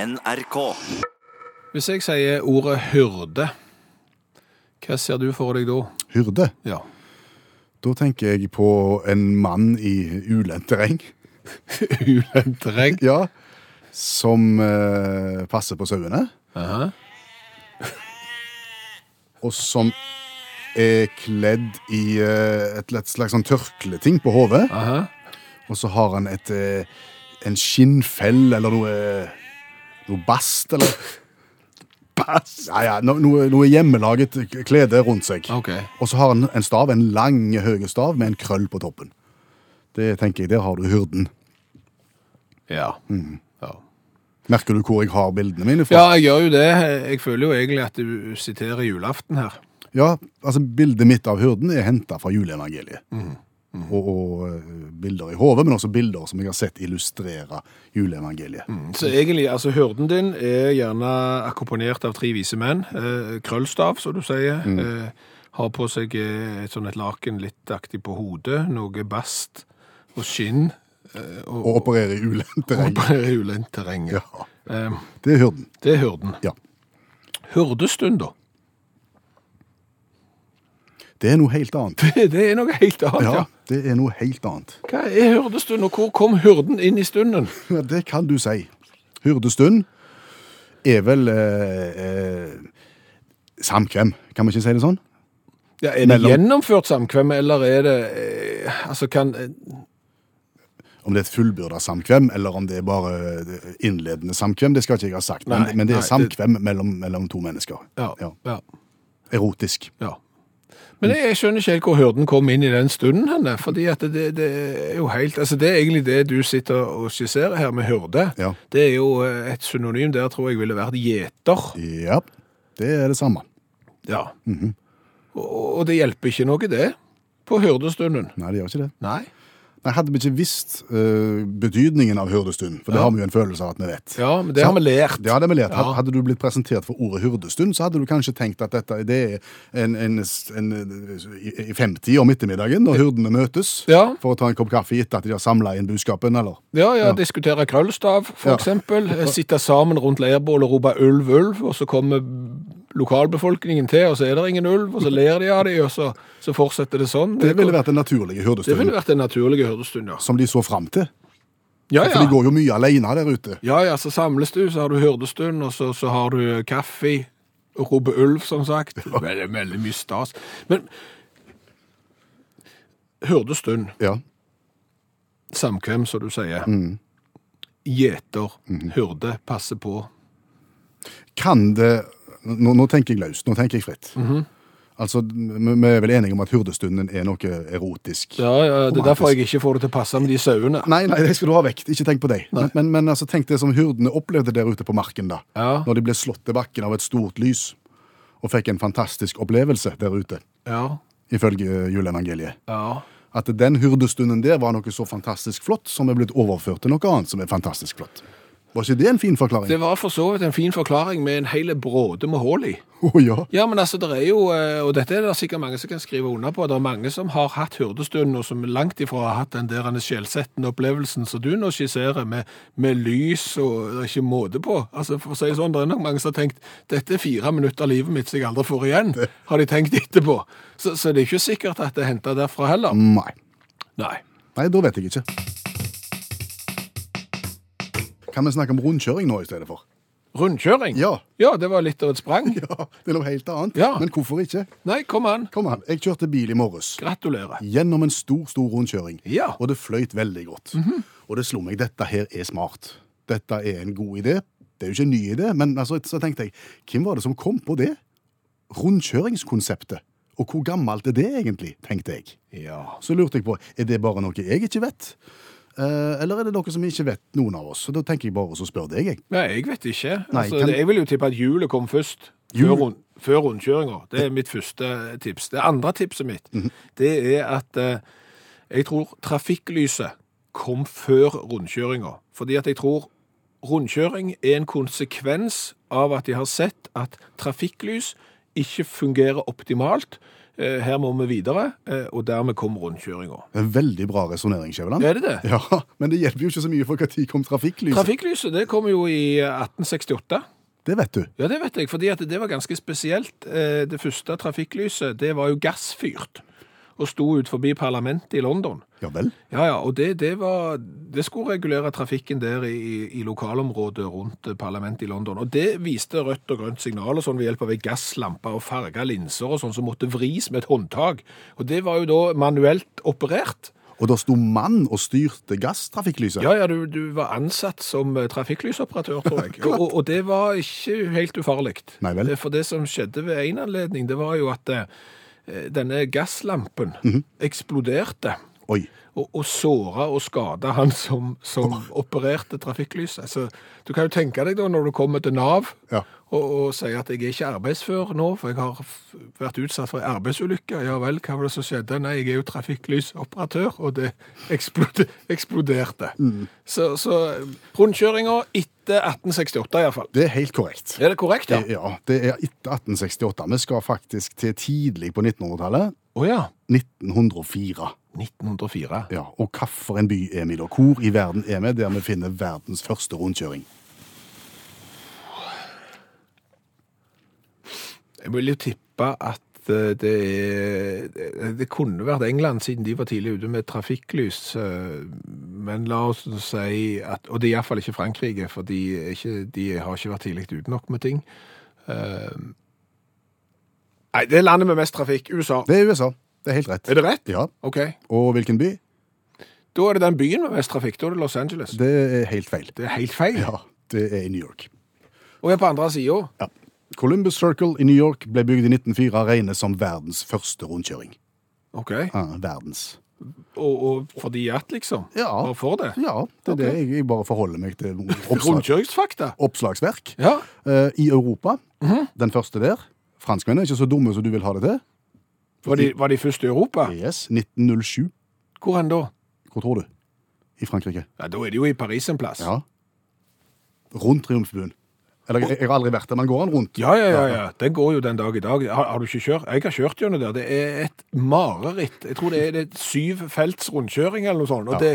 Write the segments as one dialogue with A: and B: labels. A: NRK.
B: Hvis jeg sier ordet hyrde, hva ser du for deg da?
C: Hyrde.
B: Ja.
C: Da tenker jeg på en mann i ulendt terreng.
B: Ulendt terreng.
C: Ja. Som eh, passer på sauene.
B: Aha.
C: Og som er kledd i eh, et lett slags sånn tørkleting på hodet.
B: Aha.
C: Og så har han et eh, en skinnfell eller noe noe bast eller Bast? Ja, ja, no, noe, noe hjemmelaget klede rundt seg.
B: Ok.
C: Og så har han en stav, en lang, høy stav med en krøll på toppen. Det tenker jeg, Der har du hyrden.
B: Ja. ja.
C: Merker du hvor jeg har bildene mine
B: Mm. Ja,
C: fra?
B: jeg gjør jo det. Jeg føler jo egentlig at du siterer julaften her.
C: Ja, altså Bildet mitt av hyrden er henta fra juleevangeliet.
B: Mhm.
C: Og, og eh, bilder i hodet, men også bilder som jeg har sett illustrere juleevangeliet.
B: Så egentlig, altså hyrden din er gjerne akkompanert av tre vise menn. Eh, krøllstav, som du sier. Eh, har på seg eh, et sånn et laken litt aktig på hodet. Noe bast og skinn. Eh, og
C: Og opererer i ulendt terreng.
B: bare ulendt terreng.
C: Ja,
B: Eh,
C: det er hyrden.
B: det er hyrden.
C: Ja.
B: Hyrdestund, da.
C: Det er noe helt annet.
B: Det er noe helt annet, ja.
C: Ja, det er noe helt annet.
B: Hva er hyrdestund, og hvor kom hyrden inn i stunden?
C: Ja, det kan du si. Hyrdestund er vel eh, eh, samkvem, kan vi ikke si det sånn?
B: Ja, er det
C: Mellom-
B: gjennomført samkvem, eller er det eh, Altså, kan
C: Om det er et fullbyrda samkvem, eller om det er bare eh, innledende samkvem, det skal ikke jeg ha sagt. Men,
B: Nei,
C: men det
B: nei,
C: er samkvem mellom, mellom to mennesker.
B: Ja.
C: Ja.
B: ja.
C: Erotisk.
B: ja. Men jeg jeg skjønner ikke helt hvor hyrden kom inn i den stunden, henne, fordi at det, det er jo helt Altså, det er egentlig det du sitter og skisserer her med hyrde.
C: Ja.
B: Det er jo eh, et synonym der tror jeg ville vært gjeter.
C: Ja, det er det samme.
B: Ja. Mhm. og, og det hjelper ikke noe, det, på hyrdestunden.
C: Nei, det gjør ikke det.
B: Nei.
C: Nei, Hadde vi ikke visst eh, betydningen av hyrdestund, for
B: Ja.
C: det har vi jo en følelse av at vi vet.
B: Ja, men det har vi lært.
C: Det hadde vi lært.
B: Ja.
C: Hadde du blitt presentert for ordet hyrdestund, så hadde du kanskje tenkt at dette det er en, en, en, i i femtida om ettermiddagen, når hyrdene møtes
B: Ja.
C: for å ta en kopp kaffe etter at de har samla inn buskapen, eller
B: Ja, ja, diskutere krøllstav, for
C: Ja.
B: eksempel. Sitte sammen rundt leirbål og rope ulv, ulv, og så kommer lokalbefolkningen til, og så er det ingen ulv, og så ler de av dem, og så, så fortsetter det sånn.
C: Det ville vært den naturlige
B: Det ville
C: hyrdestunden.
B: vært en naturlig hyrdestund, ja.
C: Som de så fram til.
B: Ja,
C: For de
B: ja.
C: går jo mye alene der ute.
B: ja, ja, så samles du, så har du hyrdestund, og så, så har du kaffe og rope ulv, som sagt. Det er veldig mye stas. Men hyrdestund,
C: Ja.
B: samkvem, som du sier.
C: Mm.
B: Gjeter, hyrde, passer på.
C: Kan det Nå, nå tenker jeg løst. Nå tenker jeg fritt.
B: Mhm.
C: Altså, vi vi er vel enige om at hyrdestunden er noe erotisk.
B: Ja, ja, det er
C: Romantisk.
B: derfor jeg ikke får det til å passe med de sauene.
C: Nei, nei, det skal du ha vekt. Ikke tenk på deg. Men, men, men altså, tenk det som hyrdene opplevde der ute på marken da.
B: Ja.
C: Når de ble slått til bakken av et stort lys og fikk en fantastisk opplevelse der ute,
B: Ja,
C: ifølge eh, juleevangeliet.
B: ja.
C: At den hyrdestunden der var noe så fantastisk flott som er blitt overført til noe annet som er fantastisk flott. Var ikke det en fin forklaring?
B: Det var for så vidt en fin forklaring med en hel bråde med hull i.
C: Å ja.
B: Ja, men altså, det er jo, eh, og dette er det sikkert mange som kan skrive under på, det er mange som har hatt hyrdestund, og som langt ifra har hatt den der skjelsettende opplevelsen som du nå skisserer, med, med lys og det er ikke måte på. Altså, for å si det sånn, det er nok mange som har tenkt, dette er fire minutter av livet mitt som jeg aldri får igjen, har de tenkt etterpå. Så, så det er ikke sikkert at det er hentet derfra heller.
C: Nei.
B: Nei.
C: Nei, da vet jeg ikke. Kan vi snakke om rundkjøring nå i stedet for?
B: Rundkjøring?
C: Ja.
B: Ja, det var litt av et sprang.
C: Ja, det er noe helt annet.
B: Ja.
C: Men hvorfor ikke?
B: Nei, kom an.
C: Kom an, jeg kjørte bil i morges.
B: Gratulerer.
C: gjennom en stor, stor rundkjøring.
B: Ja. Mhm.
C: Og det fløyt veldig godt. Og det slo meg, dette her er smart. Dette er en god idé. Det er jo ikke en ny idé, men altså, så tenkte jeg, hvem var det som kom på det? Rundkjøringskonseptet. Og hvor gammelt er det egentlig, tenkte jeg.
B: Ja.
C: Så lurte jeg på, er det bare noe jeg ikke vet? Eh, Eller er det noe som ikke vet noen av oss? Så da tenker jeg bare og så spør deg, jeg.
B: Nei, jeg vet ikke.
C: Nei,
B: altså,
C: kan-
B: det- Jeg vil jo tippe at hjulet kom først.
C: Hjul?
B: Før, rund, før rundkjøringa. Det er mitt første tips. Det andre tipset mitt, det er at eh, jeg tror trafikklyset kom før rundkjøringa. Fordi at jeg tror rundkjøring er en konsekvens av at de har sett at trafikklys ikke fungerer optimalt. eh, her må vi videre, eh, og dermed kom rundkjøringa.
C: Det er Veldig bra resonnering, Skjæveland.
B: Er det det?
C: Ja, men det hjelper jo ikke så mye for når kom trafikklyset.
B: Trafikklyset det kom jo i 1868.
C: Det vet du.
B: Ja, det vet jeg, fordi at det var ganske spesielt. Eh, Det første trafikklyset det var jo gassfyrt og sto ut forbi parlamentet i London.
C: Ja vel.
B: Ja, ja, og det, det, var, det skulle regulere trafikken der i, i lokalområdet rundt eh, parlamentet i London. Og det viste rødt og grønt signal og sånn ved hjelp av ei gasslampe og farga linser og sånn som måtte vris med et håndtak. Og det var jo da manuelt operert.
C: Og da sto mann og styrte gasstrafikklyset.
B: Ja, ja, du, du var ansatt som eh, trafikklysoperatør, tror jeg. og, og det var ikke helt ufarlig.
C: Nei vel.
B: Eh, For det som skjedde ved en anledning, det var jo at eh, denne gasslampen
C: Mhm.
B: eksploderte.
C: Oi.
B: Og, og såra og skada han som, som opererte trafikklyset. Så du kan jo tenke deg da, når du kommer til Nav
C: Ja.
B: og, og sier at jeg er ikke arbeidsfør nå, for jeg har f- vært utsatt for en arbeidsulykke. Ja vel, hva var det som skjedde? Nei, jeg er jo trafikklysoperatør, og det eksplode, eksploderte. Så, så rundkjøringa etter 1868 iallfall.
C: Det er helt korrekt.
B: Er det korrekt, ja?
C: Det- Ja, det er etter 1868. Vi skal faktisk til tidlig på 1900-tallet.
B: Å ja.
C: 1904.
B: 1904.
C: Ja, Og hva for en by er vi da? Hvor i verden er vi der vi finner verdens første rundkjøring?
B: Jeg vil jo tippe at eh, det, er, det kunne vært England, siden de var tidlig ute med trafikklys. eh, Men la oss nå si at Og det er iallfall ikke Frankrike, for de, er ikke, de har ikke vært tidlig ute nok med ting. Eh, Nei, det er landet med mest trafikk. USA.
C: Det er USA. Det er helt rett.
B: Er det rett?
C: Ja,
B: OK.
C: Og hvilken by?
B: Da er det den byen med mest trafikk. Da er det Los Angeles.
C: Det er helt feil.
B: Det er helt feil.
C: Ja, det er i New York.
B: Og jeg er på andre sida.
C: Ja. Columbus Circle i New York ble bygd i 1904 regnet som verdens første rundkjøring.
B: OK.
C: Ja, verdens.
B: Og, og fordi at, liksom.
C: Ja.
B: Bare for det.
C: Ja, det er
B: Ok.
C: det jeg, jeg bare forholder meg til. Oppslag,
B: Rundkjøringsfakta.
C: oppslagsverk.
B: Ja.
C: Eh, I Europa, den første der. Franskmennene er ikke så dumme som du vil ha det til.
B: Var de, var de først i Europa?
C: Yes, 1907.
B: Hvor hen da?
C: Hvor tror du? I Frankrike.
B: Ja, Da er det jo i Paris en plass.
C: Ja. Rundt Triumfbuen. Eller, jeg, jeg har aldri vært der, men går han rundt?
B: Ja, ja, ja, ja. Den går jo den dag i dag. Har, har du ikke kjørt? Jeg har kjørt gjennom der. Det er et mareritt. Jeg tror det er det er syv felts rundkjøring eller noe sånt. Og det,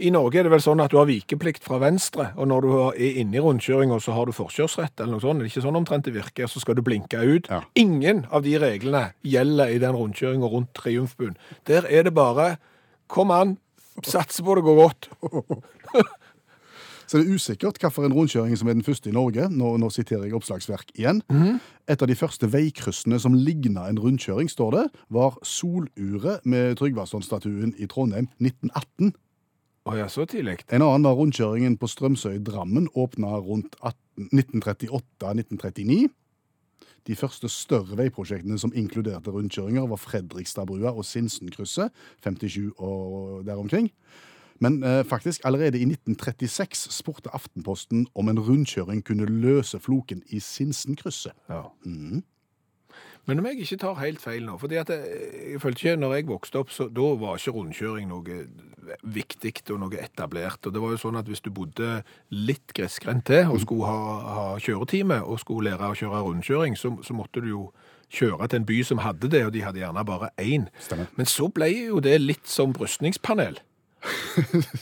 B: I Norge er det vel sånn at du har vikeplikt fra venstre, og når du er inne i rundkjøringa, så har du forkjørsrett eller noe sånt. Det er ikke sånn omtrent det virker, så skal du blinke ut.
C: Ja.
B: Ingen av de reglene gjelder i den rundkjøringa rundt Triumfbuen. Der er det bare Kom an, satse på det går godt.
C: Så det er usikkert hvilken rundkjøring som er den første i Norge. Nå, nå siterer jeg oppslagsverk igjen.
B: Mm.
C: Et av de første veikryssene som ligna en rundkjøring, står det, var Soluret med Tryggvason-statuen i Trondheim 1918.
B: Å ja, så tidlig.
C: En annen var rundkjøringen på Strømsøy i Drammen, åpna rundt 18 1938-1939. De første større veiprosjektene som inkluderte rundkjøringer, var Fredrikstadbrua og Sinsenkrysset, 57 og der omkring. Men eh, faktisk, allerede i 1936 spurte Aftenposten om en rundkjøring kunne løse floken i Sinsenkrysset. Mm,
B: Ja. Men om jeg ikke tar helt feil nå, fordi at jeg, jeg følte ikke når jeg vokste opp, så da var ikke rundkjøring noe viktig og noe etablert. Og det var jo sånn at hvis du bodde litt gressgrendt til og skulle ha, ha kjøretime og skulle lære å kjøre rundkjøring, så, så måtte du jo kjøre til en by som hadde det, og de hadde gjerne bare én.
C: Stemmer.
B: Men så ble jo det litt som brystningspanel.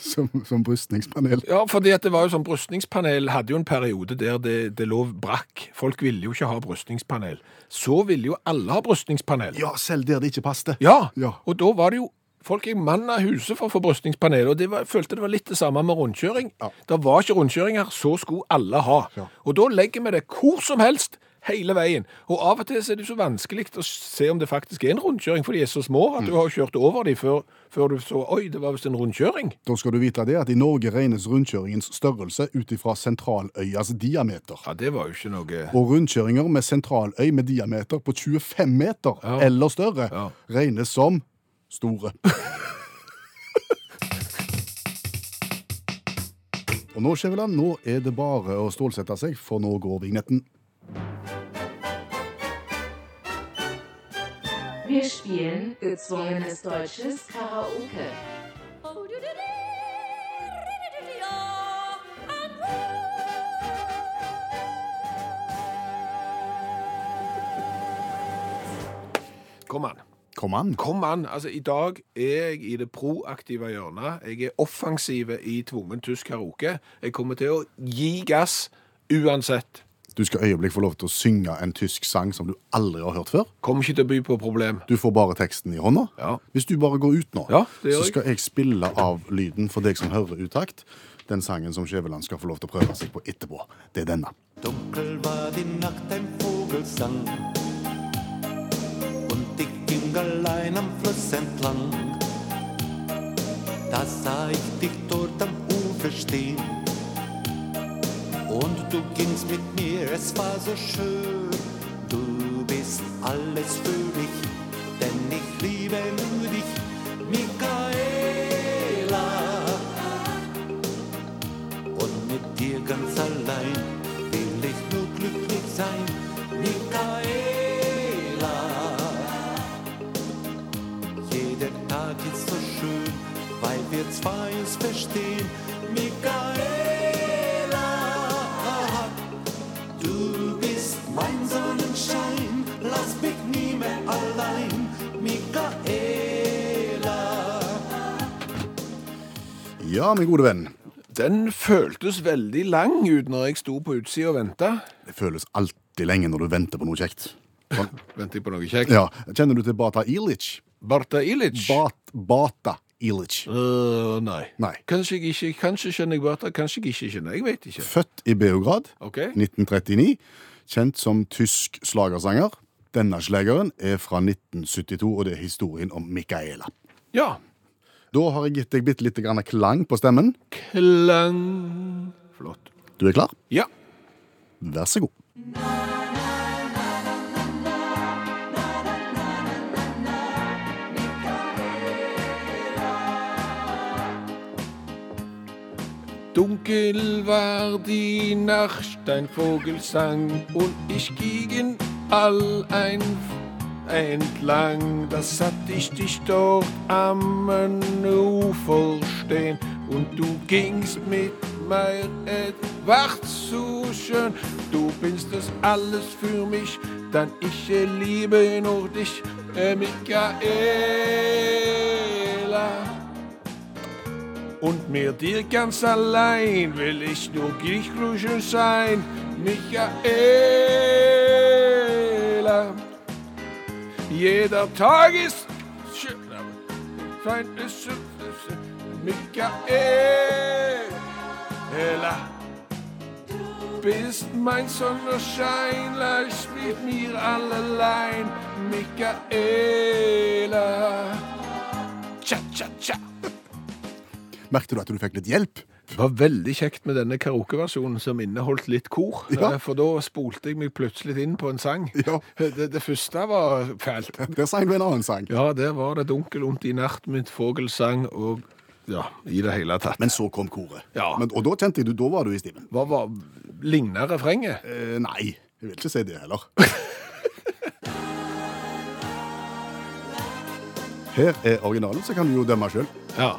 C: Som, som brystningspanel.
B: Ja, fordi at det var jo sånn brystningspanel hadde jo en periode der det, det lå brakk. Folk ville jo ikke ha brystningspanel. Så ville jo alle ha brystningspanel.
C: Ja, selv der det ikke passte.
B: Ja,
C: Ja.
B: og da var det jo folk gikk mann av huset for å få brystningspanel, og det var, jeg følte det var litt det samme med rundkjøring.
C: Ja.
B: Det var ikke rundkjøring her, så skulle alle ha.
C: Ja.
B: Og da legger vi det hvor som helst hele veien. Og av og til så er det jo så vanskelig å se om det faktisk er en rundkjøring, for de er så små at du har kjørt over dem før, før du så, oi, det var visst en rundkjøring.
C: Da skal du vite det at i Norge regnes rundkjøringens størrelse ut ifra sentraløyas diameter.
B: Ja, det var jo ikke noe...
C: Og rundkjøringer med sentraløy med diameter på 25 meter
B: Ja.
C: eller større
B: Ja.
C: regnes som store. Og nå, Skjæveland, nå er det bare å stålsette seg, for nå går vignetten.
A: Wir spielen gezwungenes deutsches Karaoke.
B: Kom an.
C: Kom an.
B: Kom an, altså i dag er jeg i det proaktive hjørnet. Jeg er offensive i tvungen tysk karaoke. Jeg kommer til å gi gass uansett.
C: Du skal øyeblikk få lov til å synge en tysk sang som du aldri har hørt før.
B: Kommer ikke til å by på problem.
C: Du får bare teksten i hånda.
B: Ja.
C: Hvis du bare går ut nå,
B: Ja, det gjør
C: så
B: jeg.
C: skal jeg spille av lyden for deg som hører utakt. Den sangen som Skjæveland skal få lov til å prøve seg på etterpå. Det er denne.
D: Dunkel war die Nacht, ein Vogel sang. Und ich ging allein am Fluss entlang. Da sah ich dich dort am Ufer stehen. Und du gingst mit mir, es war so schön. Du bist alles für mich, denn ich liebe nur dich, Michaela. und mit dir ganz allein will ich nur glücklich sein, Michaela. Jeder Tag ist so schön, weil wir zwei uns verstehen, Michaela. Du bist mein Sonnenschein, lass mich nie mehr allein, Michaela.
C: Ja, min gode venn.
B: Den føltes veldig lang ut når jeg sto på utsida og venta.
C: Det føles alltid lenge når du venter på noe kjekt. Sånn.
B: Venter jeg på noe kjekt?
C: Ja, Kjenner du til Bata Ilic?
B: Barta Ilic?
C: Bat, Bata Ilic.
B: Øh, nei.
C: Nei.
B: Kanskje jeg ikke Kanskje skjønner jeg Barta, kanskje jeg ikke skjønner. Jeg vet ikke.
C: Født i Beograd
B: OK?
C: 1939. Kjent som tysk slagersanger. Denne slageren er fra 1972, og det er historien om Micaela.
B: Ja.
C: Da har jeg gitt deg bitte litt grann klang på stemmen.
B: Klang Flott.
C: Du er klar?
B: Ja.
C: Vær så god.
B: Dunkel war die Nacht, ein Vogel sang und ich ging all ein entlang. Da satt ich dich dort am Ufer stehen und du gingst mit mir, es war so schön. Du bist es alles für mich, dann ich liebe nur dich, äh, Michaela. Und mit dir ganz allein will ich nur glücklich sein, Michaela. Jeder Tag ist schön, aber fein ist schön, ist schön. Michaela. Bist mein Sonnenschein, lass mit mir allein, Michaela. Tja, tja, tja.
C: Merkte du at du fikk litt hjelp?
B: Det var veldig kjekt med denne karaokeversjonen som inneholdt litt kor.
C: Ja.
B: eh, For da spolte jeg meg plutselig inn på en sang. Eh,
C: Ja.
B: Det, det første var fælt.
C: Der sang du en annen sang.
B: Ja, der var det dunkel ondt i natt, mitt vogelsang og ja, i det hele tatt.
C: Men så kom koret.
B: Ja.
C: Men, og da kjente jeg du, da var du i stimen.
B: Hva var ligna refrenget?
C: Eh, nei, jeg vil ikke si det heller. Her er originalen, så kan du jo dømme sjøl.
B: Ja.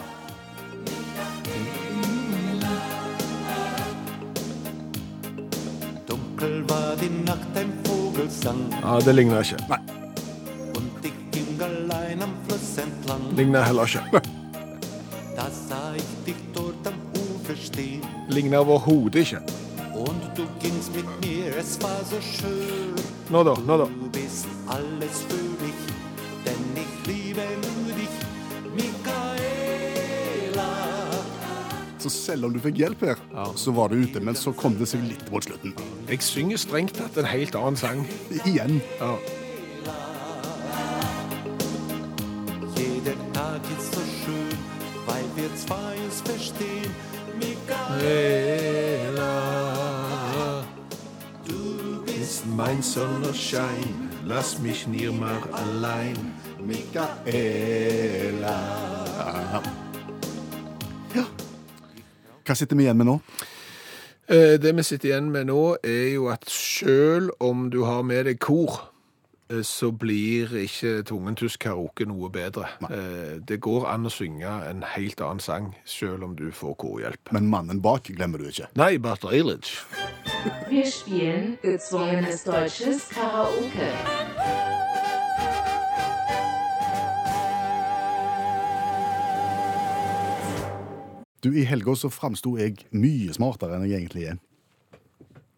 D: Dunkel war die Nacht, ein Vogel sang.
B: ja det ligna ikke. Nei,
D: Und ich ging allein am Fluss entlang.
B: Ligna heller ikke.
D: Da sah ich dich dort am Ufer stehen.
B: Ligna overhodet ikke.
D: Und du gingst mit mir, es war so schön.
B: Nå da, nå da.
D: Du bist alles für mich, denn ich liebe nur dich, Michaela.
C: Så selv om du fikk hjelp her, så var du ute. Men så kom det seg litt mot slutten.
B: Jeg synger strengt tatt en helt annen sang.
C: Igjen.
B: Ja.
D: Jeder Tag ist so schön, weil wir zwei es verstehen. Michaela,
B: Michaela.
D: du bist
B: Mein Sonnenschein, lass mich nie mehr allein.
C: Micaela. Ja. Hva sitter vi igjen med nå?
B: Eh, Det vi sitter igjen med nå, er jo at selv om du har med deg kor, eh, så blir ikke tvungen tysk karaoke noe bedre. Eh, Det går an å synge en helt annen sang, selv om du får korhjelp.
C: Men mannen bak glemmer du ikke.
B: Nei, Barter Eilidge.
A: Wir spielen gezwungenes deutsches Karaoke.
C: Du, I helga så framsto jeg mye smartere enn jeg egentlig er.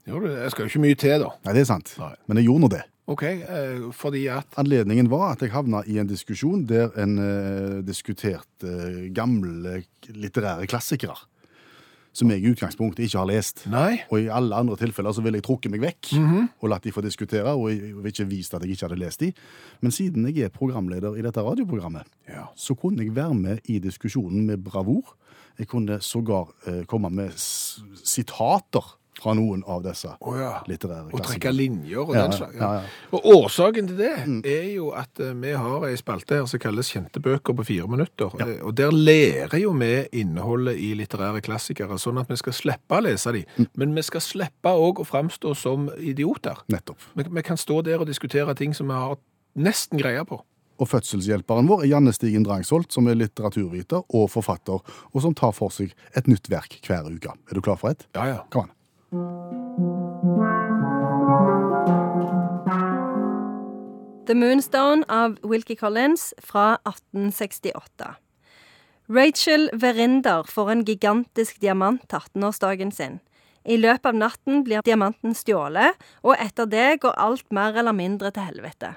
B: Jo, det det skal jo ikke mye til, da.
C: Nei, det er sant.
B: Nei.
C: Men jeg gjorde nå det.
B: OK, eh, fordi at
C: Anledningen var at jeg havna i en diskusjon der en eh, diskuterte eh, gamle litterære klassikere. Som jeg i utgangspunktet ikke har lest.
B: Nei. Mhm.
C: Og i alle andre tilfeller så ville jeg trukket meg vekk og latt de få diskutere. og jeg ville ikke vist at jeg ikke hadde lest de. Men siden jeg er programleder i dette radioprogrammet,
B: Ja.
C: så kunne jeg være med i diskusjonen med bravur. Jeg kunne sågar eh, komme med s sitater fra noen av disse
B: Å ja.
C: litterære
B: Å trekke
C: klassikerne.
B: linjer og
C: Ja,
B: den
C: ja,
B: slags.
C: ja, Mm. ja.
B: Og årsaken til det er jo at eh, vi har ei spalte her som kalles Kjente bøker på fire minutter. Eh, Og der lærer jo vi innholdet i litterære klassikere, sånn at vi skal slippe å lese de.
C: Mm.
B: Men vi skal slippe òg å framstå som idioter.
C: Nettopp.
B: Vi, vi kan stå der og diskutere ting som vi har nesten greie på.
C: Og fødselshjelperen vår er Janne Stigen Drangsholt, som er litteraturviter og forfatter, og som tar for seg et nytt verk hver uke. Er du klar for et?
B: Ja, ja.
C: Kom an.
E: The Moonstone av Wilkie Collins fra 1868. Rachel Verinder får en gigantisk diamant til 18-årsdagen sin. I løpet av natten blir diamanten stjålet, og etter det går alt mer eller mindre til helvete.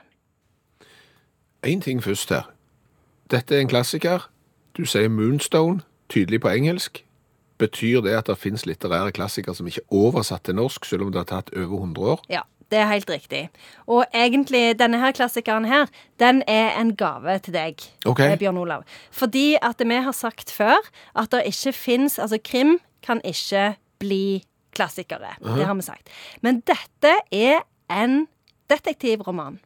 B: Én ting først her. Dette er en klassiker. Du sier Moonstone, tydelig på engelsk. Betyr det at det finnes litterære klassikere som ikke er oversatt til norsk, selv om det har tatt over 100 år?
E: Ja, det er helt riktig. Og egentlig, denne her klassikeren her, den er en gave til deg,
B: Ok.
E: eh, Bjørn Olav. Fordi at vi har sagt før at det ikke fins Altså, krim kan ikke bli klassikere. Det har vi sagt. Men dette er en detektivroman.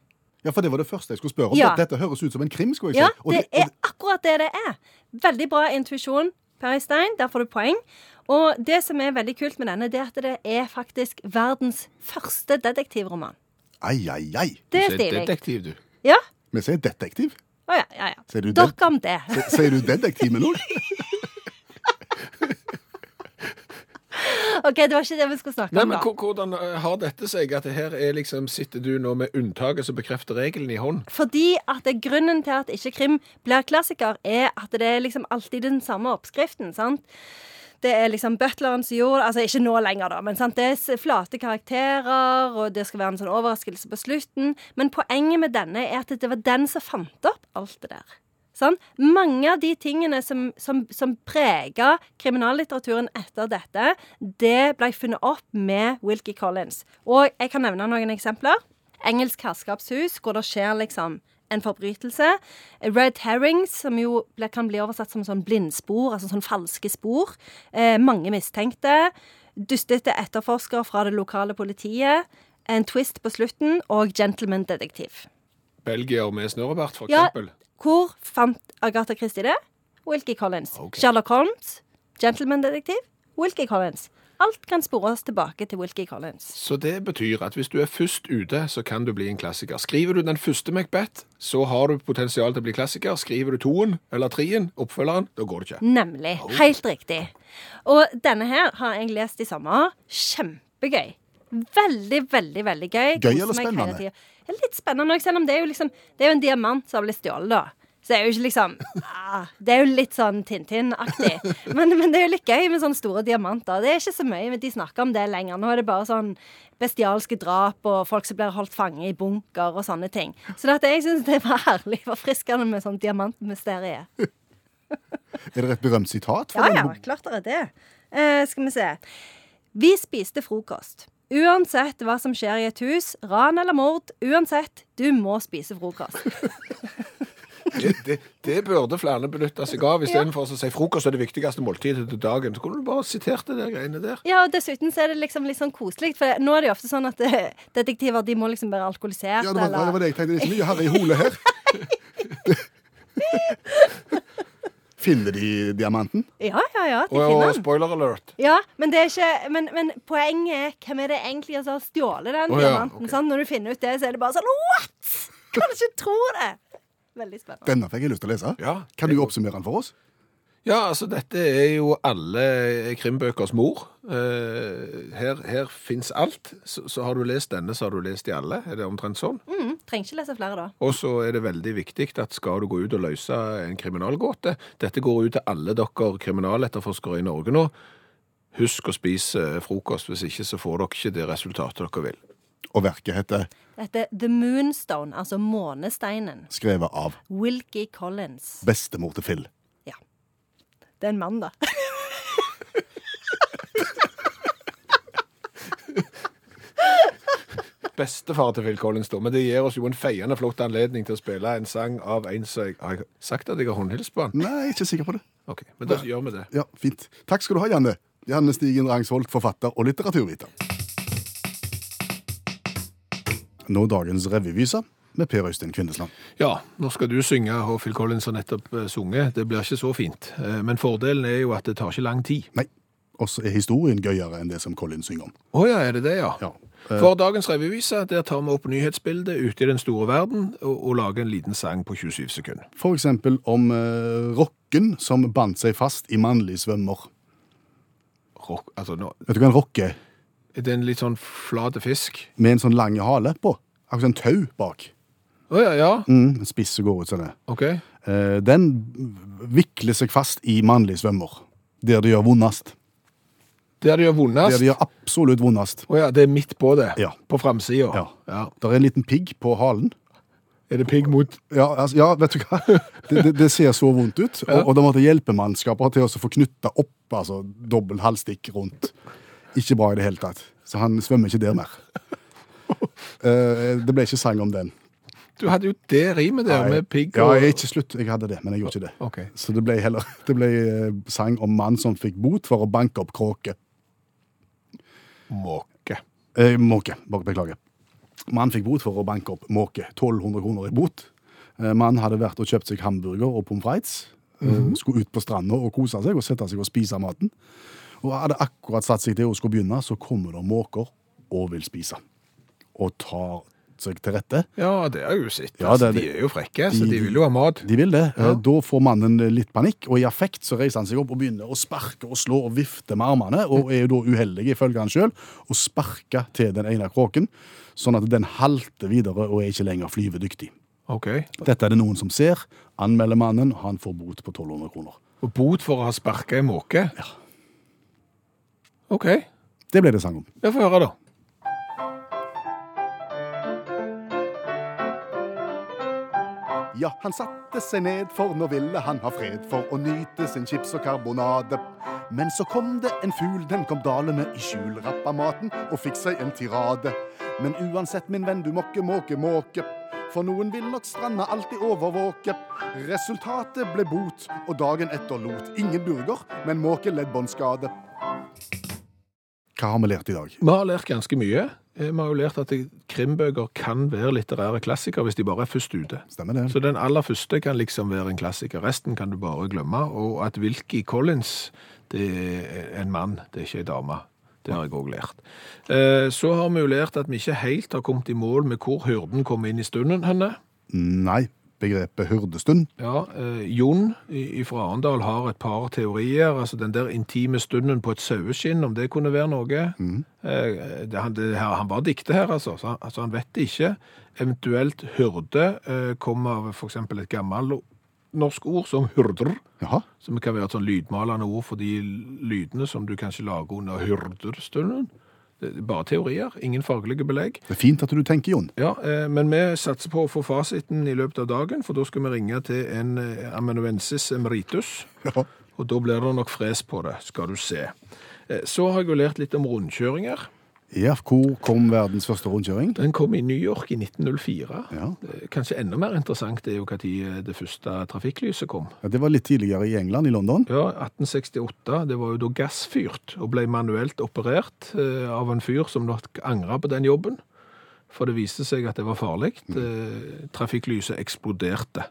C: Ja, for det var det første jeg skulle spørre om.
E: Ja.
C: Dette høres ut som en krim, skulle jeg
E: Ja,
C: si. Og
E: det
C: og
E: er akkurat det det er. Veldig bra intuisjon, Per Øystein. Der får du poeng. Og det som er veldig kult med denne, det er at det er faktisk verdens første detektivroman.
C: Ai, ai, ai.
E: Det
B: Du
E: er
B: er
E: stilig.
B: Detektiv, du.
E: Ja,
C: Vi sier detektiv.
E: Å ja, ja, ja.
C: Ser du det?
E: Dere om det.
C: Sier du detektiv med noe?
E: OK, det var ikke det vi skulle snakke
B: Nei,
E: om,
B: men
E: da.
B: hvor- Hvordan eh, har dette seg? At det her er liksom, Sitter du nå med unntaket som bekrefter regelen i hånd?
E: Fordi at det, grunnen til at ikke krim blir klassiker, er at det er liksom alltid den samme oppskriften, sant? Det er liksom butleren som gjorde det. Altså, ikke nå lenger, da, men sant? det er s- flate karakterer, og det skal være en sånn overraskelse på slutten. Men poenget med denne er at det var den som fant opp alt det der. Sant? Mange av de tingene som, som, som prega kriminallitteraturen etter dette, det ble funnet opp med Wilkie Collins. Og jeg kan nevne noen eksempler. Engelsk herskapshus, hvor det skjer liksom en forbrytelse. Red herrings, som jo ble, kan bli oversatt som sånn blindspor, altså sånn falske spor. Eh, mange mistenkte. Dustete etterforsker fra det lokale politiet. En twist på slutten, og gentleman-detektiv.
B: Belgier med snørrebart, for
E: Ja,
B: eksempel.
E: hvor fant Agatha Christie det? Wilkie Collins.
B: Ok.
E: Sherlock Holmes, gentleman-detektiv, Wilkie Collins. Alt kan spores tilbake til Wilkie Collins.
B: Så det betyr at hvis du er først ute, så kan du bli en klassiker. Skriver du den første Macbeth, så har du potensial til å bli klassiker. Skriver du toen eller treen, oppfølgeren, da går det ikke.
E: Nemlig. Helt riktig. Og denne her har jeg lest i sommer. Kjempegøy. Veldig, veldig veldig gøy.
C: Gøy
E: Koser
C: eller
E: meg hele
C: spennende?
E: tiden. Det er Litt spennende òg, selv om det er jo liksom Det er jo en diamant som har blitt stjålet, da. Så det er jo ikke liksom ah, Det er jo litt sånn Tintin-aktig. Men, men det er jo litt gøy med sånne store diamanter. Det er ikke så mye men de snakker om det lenger. Nå er det bare sånn bestialske drap og folk som blir holdt fange i bunker og sånne ting. Så dette, jeg syns det var herlig forfriskende med sånn diamantmysteriet.
C: Er det et berømt sitat? fra
E: Ja, ja,
C: den?
E: klart det er det. Eh, skal vi se. Vi spiste frokost. Uansett hva som skjer i et hus, ran eller mord, uansett, du må spise frokost.
B: Det, det, det burde flere benytte seg av, istedenfor å si frokost er det viktigste måltidet til dagen. Så kunne du bare sitert det der greiene der.
E: Ja, og dessuten så er det liksom litt sånn koselig, for nå er det jo ofte sånn at eh, detektiver de må liksom være alkoholisert,
C: Ja, det, var, det var
E: eller
C: det jeg tenkte. Det er ikke mye herre i hole her. Finner de diamanten?
E: Ja, ja, ja, de
B: Og, og
E: finner den.
B: spoiler alert.
E: Ja, men, det er ikke, men, men poenget er hvem er det egentlig som har stjålet den
B: Å, ja,
E: diamanten?
B: ok.
E: sant? Når du finner ut det, så er det bare sånn What?! Kan ikke tro det! Veldig spennende.
C: Denne fikk jeg lyst til å lese.
B: Ja.
C: Kan du oppsummere den for oss?
B: Ja, altså dette er jo alle krimbøkers mor. Eh, her her fins alt. Så, så har du lest denne, så har du lest de alle. Er det omtrent sånn?
E: Mm, trenger ikke lese flere da.
B: Og så er det veldig viktig at skal du gå ut og løse en kriminalgåte Dette går ut til alle dere kriminaletterforskere i Norge nå. Husk å spise eh, frokost, hvis ikke så får dere ikke det resultatet dere vil.
C: Og verket heter
E: Dette er The Moonstone, altså månesteinen.
C: skrevet av
E: Wilkie Collins.
C: bestemor til Phil.
E: Det er en mann, da.
B: Bestefar til Phil Collins, da. Men det gir oss jo en feiende flott anledning til å spille en sang av en som jeg Har jeg sagt at jeg har håndhilst på han?
C: Nei, jeg er ikke sikker på det.
B: OK, men da gjør vi det.
C: Ja, fint. Takk skal du ha, Janne. Janne Stigen Rangsvold, forfatter og litteraturviter. Nå dagens revyvise med Per Øystein Kvindesland.
B: Ja, nå skal du synge, og Phil Collins har nettopp eh, sunget. Det blir ikke så fint. Eh, Men fordelen er jo at det tar ikke lang tid.
C: Nei, også er historien gøyere enn det som Colin synger om.
B: Å ja, er det det, ja? Eh.
C: Ja.
B: For dagens revyvise, der tar vi opp nyhetsbildet ute i den store verden og, og lager en liten sang på 27 sekunder.
C: For eksempel om eh, rocken som bandt seg fast i mannlig svømmer.
B: Rock, altså, nå,
C: Vet du hva en rock er?
B: er det en litt sånn flate fisk?
C: Med en sånn lang hale på. Akkurat en tau bak.
B: Å ja, ja.
C: Mm, en spiss som går ut sånn.
B: OK.
C: Eh, den vikler seg fast i mannlig svømmer. Der det gjør vondest.
B: Der det gjør
C: Der
B: vondest?
C: det gjør absolutt vondest.
B: Å ja, det er midt på det.
C: Ja.
B: På framsida.
C: Ja. Der er en liten pigg på halen.
B: Er det pigg mot
C: Ja, altså, ja vet du hva? Det, det, det ser så vondt ut. Og, og da måtte hjelpemannskaper til å få knytta opp altså, dobbel halvstikk rundt. Ikke bra i det hele tatt. Så han svømmer ikke der mer. Eh, det ble ikke sang om den.
B: Du hadde jo det rimet der
C: Nei.
B: med pigg
C: Ja,
B: og
C: jeg er ikke slutt. Jeg hadde det, men jeg gjorde ikke det.
B: OK.
C: Så det ble, heller, det ble eh, sang om mann som fikk bot for å banke opp kråke.
B: Måke.
C: Eh, måke, bare beklager. Mannen fikk bot for å banke opp måke. 1200 kroner i bot. Eh, Mannen hadde vært og kjøpt seg hamburger og pommes frites. Eh,
B: Mhm.
C: Skulle ut på stranda og kose seg og sette seg og spise maten. Og hadde akkurat satt seg til og skulle begynne, så kommer det måker og vil spise. Og tar seg til rette.
B: Ja, det har jeg jo sett.
C: Ja,
B: altså,
C: det er
B: de
C: det.
B: er jo frekke, så
C: De-
B: de vil jo ha mat.
C: De vil det.
B: Ja.
C: Eh, Da får mannen litt panikk, og i affekt så reiser han seg opp og begynner å sparke og slå og vifte med armene, og er jo da uheldig ifølge han sjøl, og sparker til den ene kråken, sånn at den halter videre og er ikke lenger flyvedyktig.
B: OK.
C: Dette er det noen som ser, anmelder mannen, han får bot på 1200 kroner.
B: Og bot for å ha sparka ei måke? Ja. OK.
C: Det ble det sang om.
B: Jeg får høre, da.
C: Ja, han satte seg ned, for nå ville han ha fred for å nyte sin chips og karbonade. Men så kom det en fugl, den kom dalende i skjul, rappa maten og fikk seg en tirade. Men uansett, min venn, du måkke, måke, måke. For noen vil nok stranda alltid overvåke. Resultatet ble bot, og dagen etter lot. Ingen burger, men måke-leddbåndskade. Hva har vi lært i dag?
B: Vi har lært ganske mye. Eh, Vi har jo lært at det- krimbøker kan være litterære klassikere hvis de bare er først ute.
C: Stemmer det.
B: Så den aller første kan liksom være en klassiker. Resten kan du bare glemme. Og at Wilkie Collins, det er en mann, det er ikke en dame. Det har jeg òg lært. Eh, Så har vi jo lært at vi ikke helt har kommet i mål med hvor hyrden kom inn i stunden henne.
C: Nei, begrepet hyrdestund
B: Ja, eh, Jon i- fra Arendal har et par teorier. altså Den der intime stunden på et saueskinn, om det kunne være noe. Eh, det, han, det, her, han var dikter her, altså, så han, altså han vet det ikke. Eventuelt hyrde eh, kommer av f.eks. et gammelt norsk ord som hyrder.
C: Jaha.
B: Som kan være et sånn lydmalende ord for de lydene som du kanskje lager under hyrderstunden. Det er bare teorier, ingen faglige belegg.
C: Det er fint at du tenker, Jon.
B: Ja, eh, men vi satser på å få fasiten i løpet av dagen, for da skal vi ringe til en eh, amanuensis emeritus,
C: Ja.
B: og da blir det nok fres på det, skal du se. Eh, Så har jeg jo lært litt om rundkjøringer.
C: Ja, hvor kom verdens første rundkjøring?
B: Den kom i New York i 1904.
C: Ja.
B: Eh, Kanskje enda mer interessant er jo hva tid det første trafikklyset kom.
C: Ja, det var litt tidligere i England, i London.
B: Ja, 1868, det var jo da gassfyrt, og ble manuelt operert eh, av en fyr som nok angret på den jobben. For det viste seg at det var farlig. Eh, trafikklyset eksploderte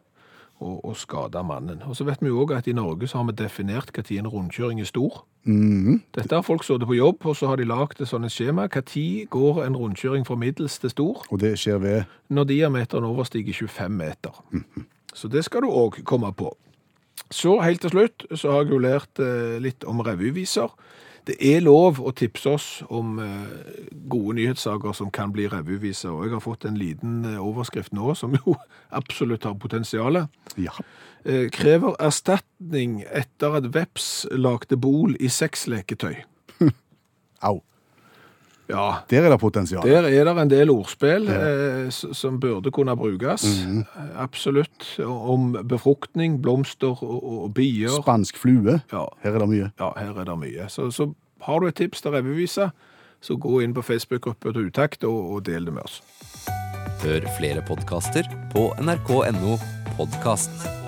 B: og, og skadet mannen. Og så vet vi jo også at i Norge så har vi definert hva tid en rundkjøring er stor.
C: Mhm.
B: Dette har folk sittet på jobb, og så har de lagt et sånt skjema. Hva tid går en rundkjøring fra middels til stor?
C: Og det skjer ved
B: når diameteren overstiger 25 meter. Så det skal du òg komme på. Så helt til slutt så har jeg jo lært eh, litt om revyviser. Det er lov å tipse oss om eh, gode nyhetssaker som kan bli revyviser, og jeg har fått en liten eh, overskrift nå som jo absolutt har potensialet.
C: Ja.
B: Eh, krever erstatning etter at veps lagde bol i sexleketøy.
C: Au.
B: Ja,
C: Der er det potensial.
B: der er det en del ordspill eh, s- som burde kunne brukes. Eh, Absolutt. Om befruktning, blomster og, og, og bier.
C: Spansk flue.
B: Ja.
C: Her er det mye.
B: ja, her er det mye. Så, så har du et tips til revyvisa, så gå inn på Facebook-gruppa til Utakt og, og del det med oss.
F: Hør flere podkaster på nrk.no podkast.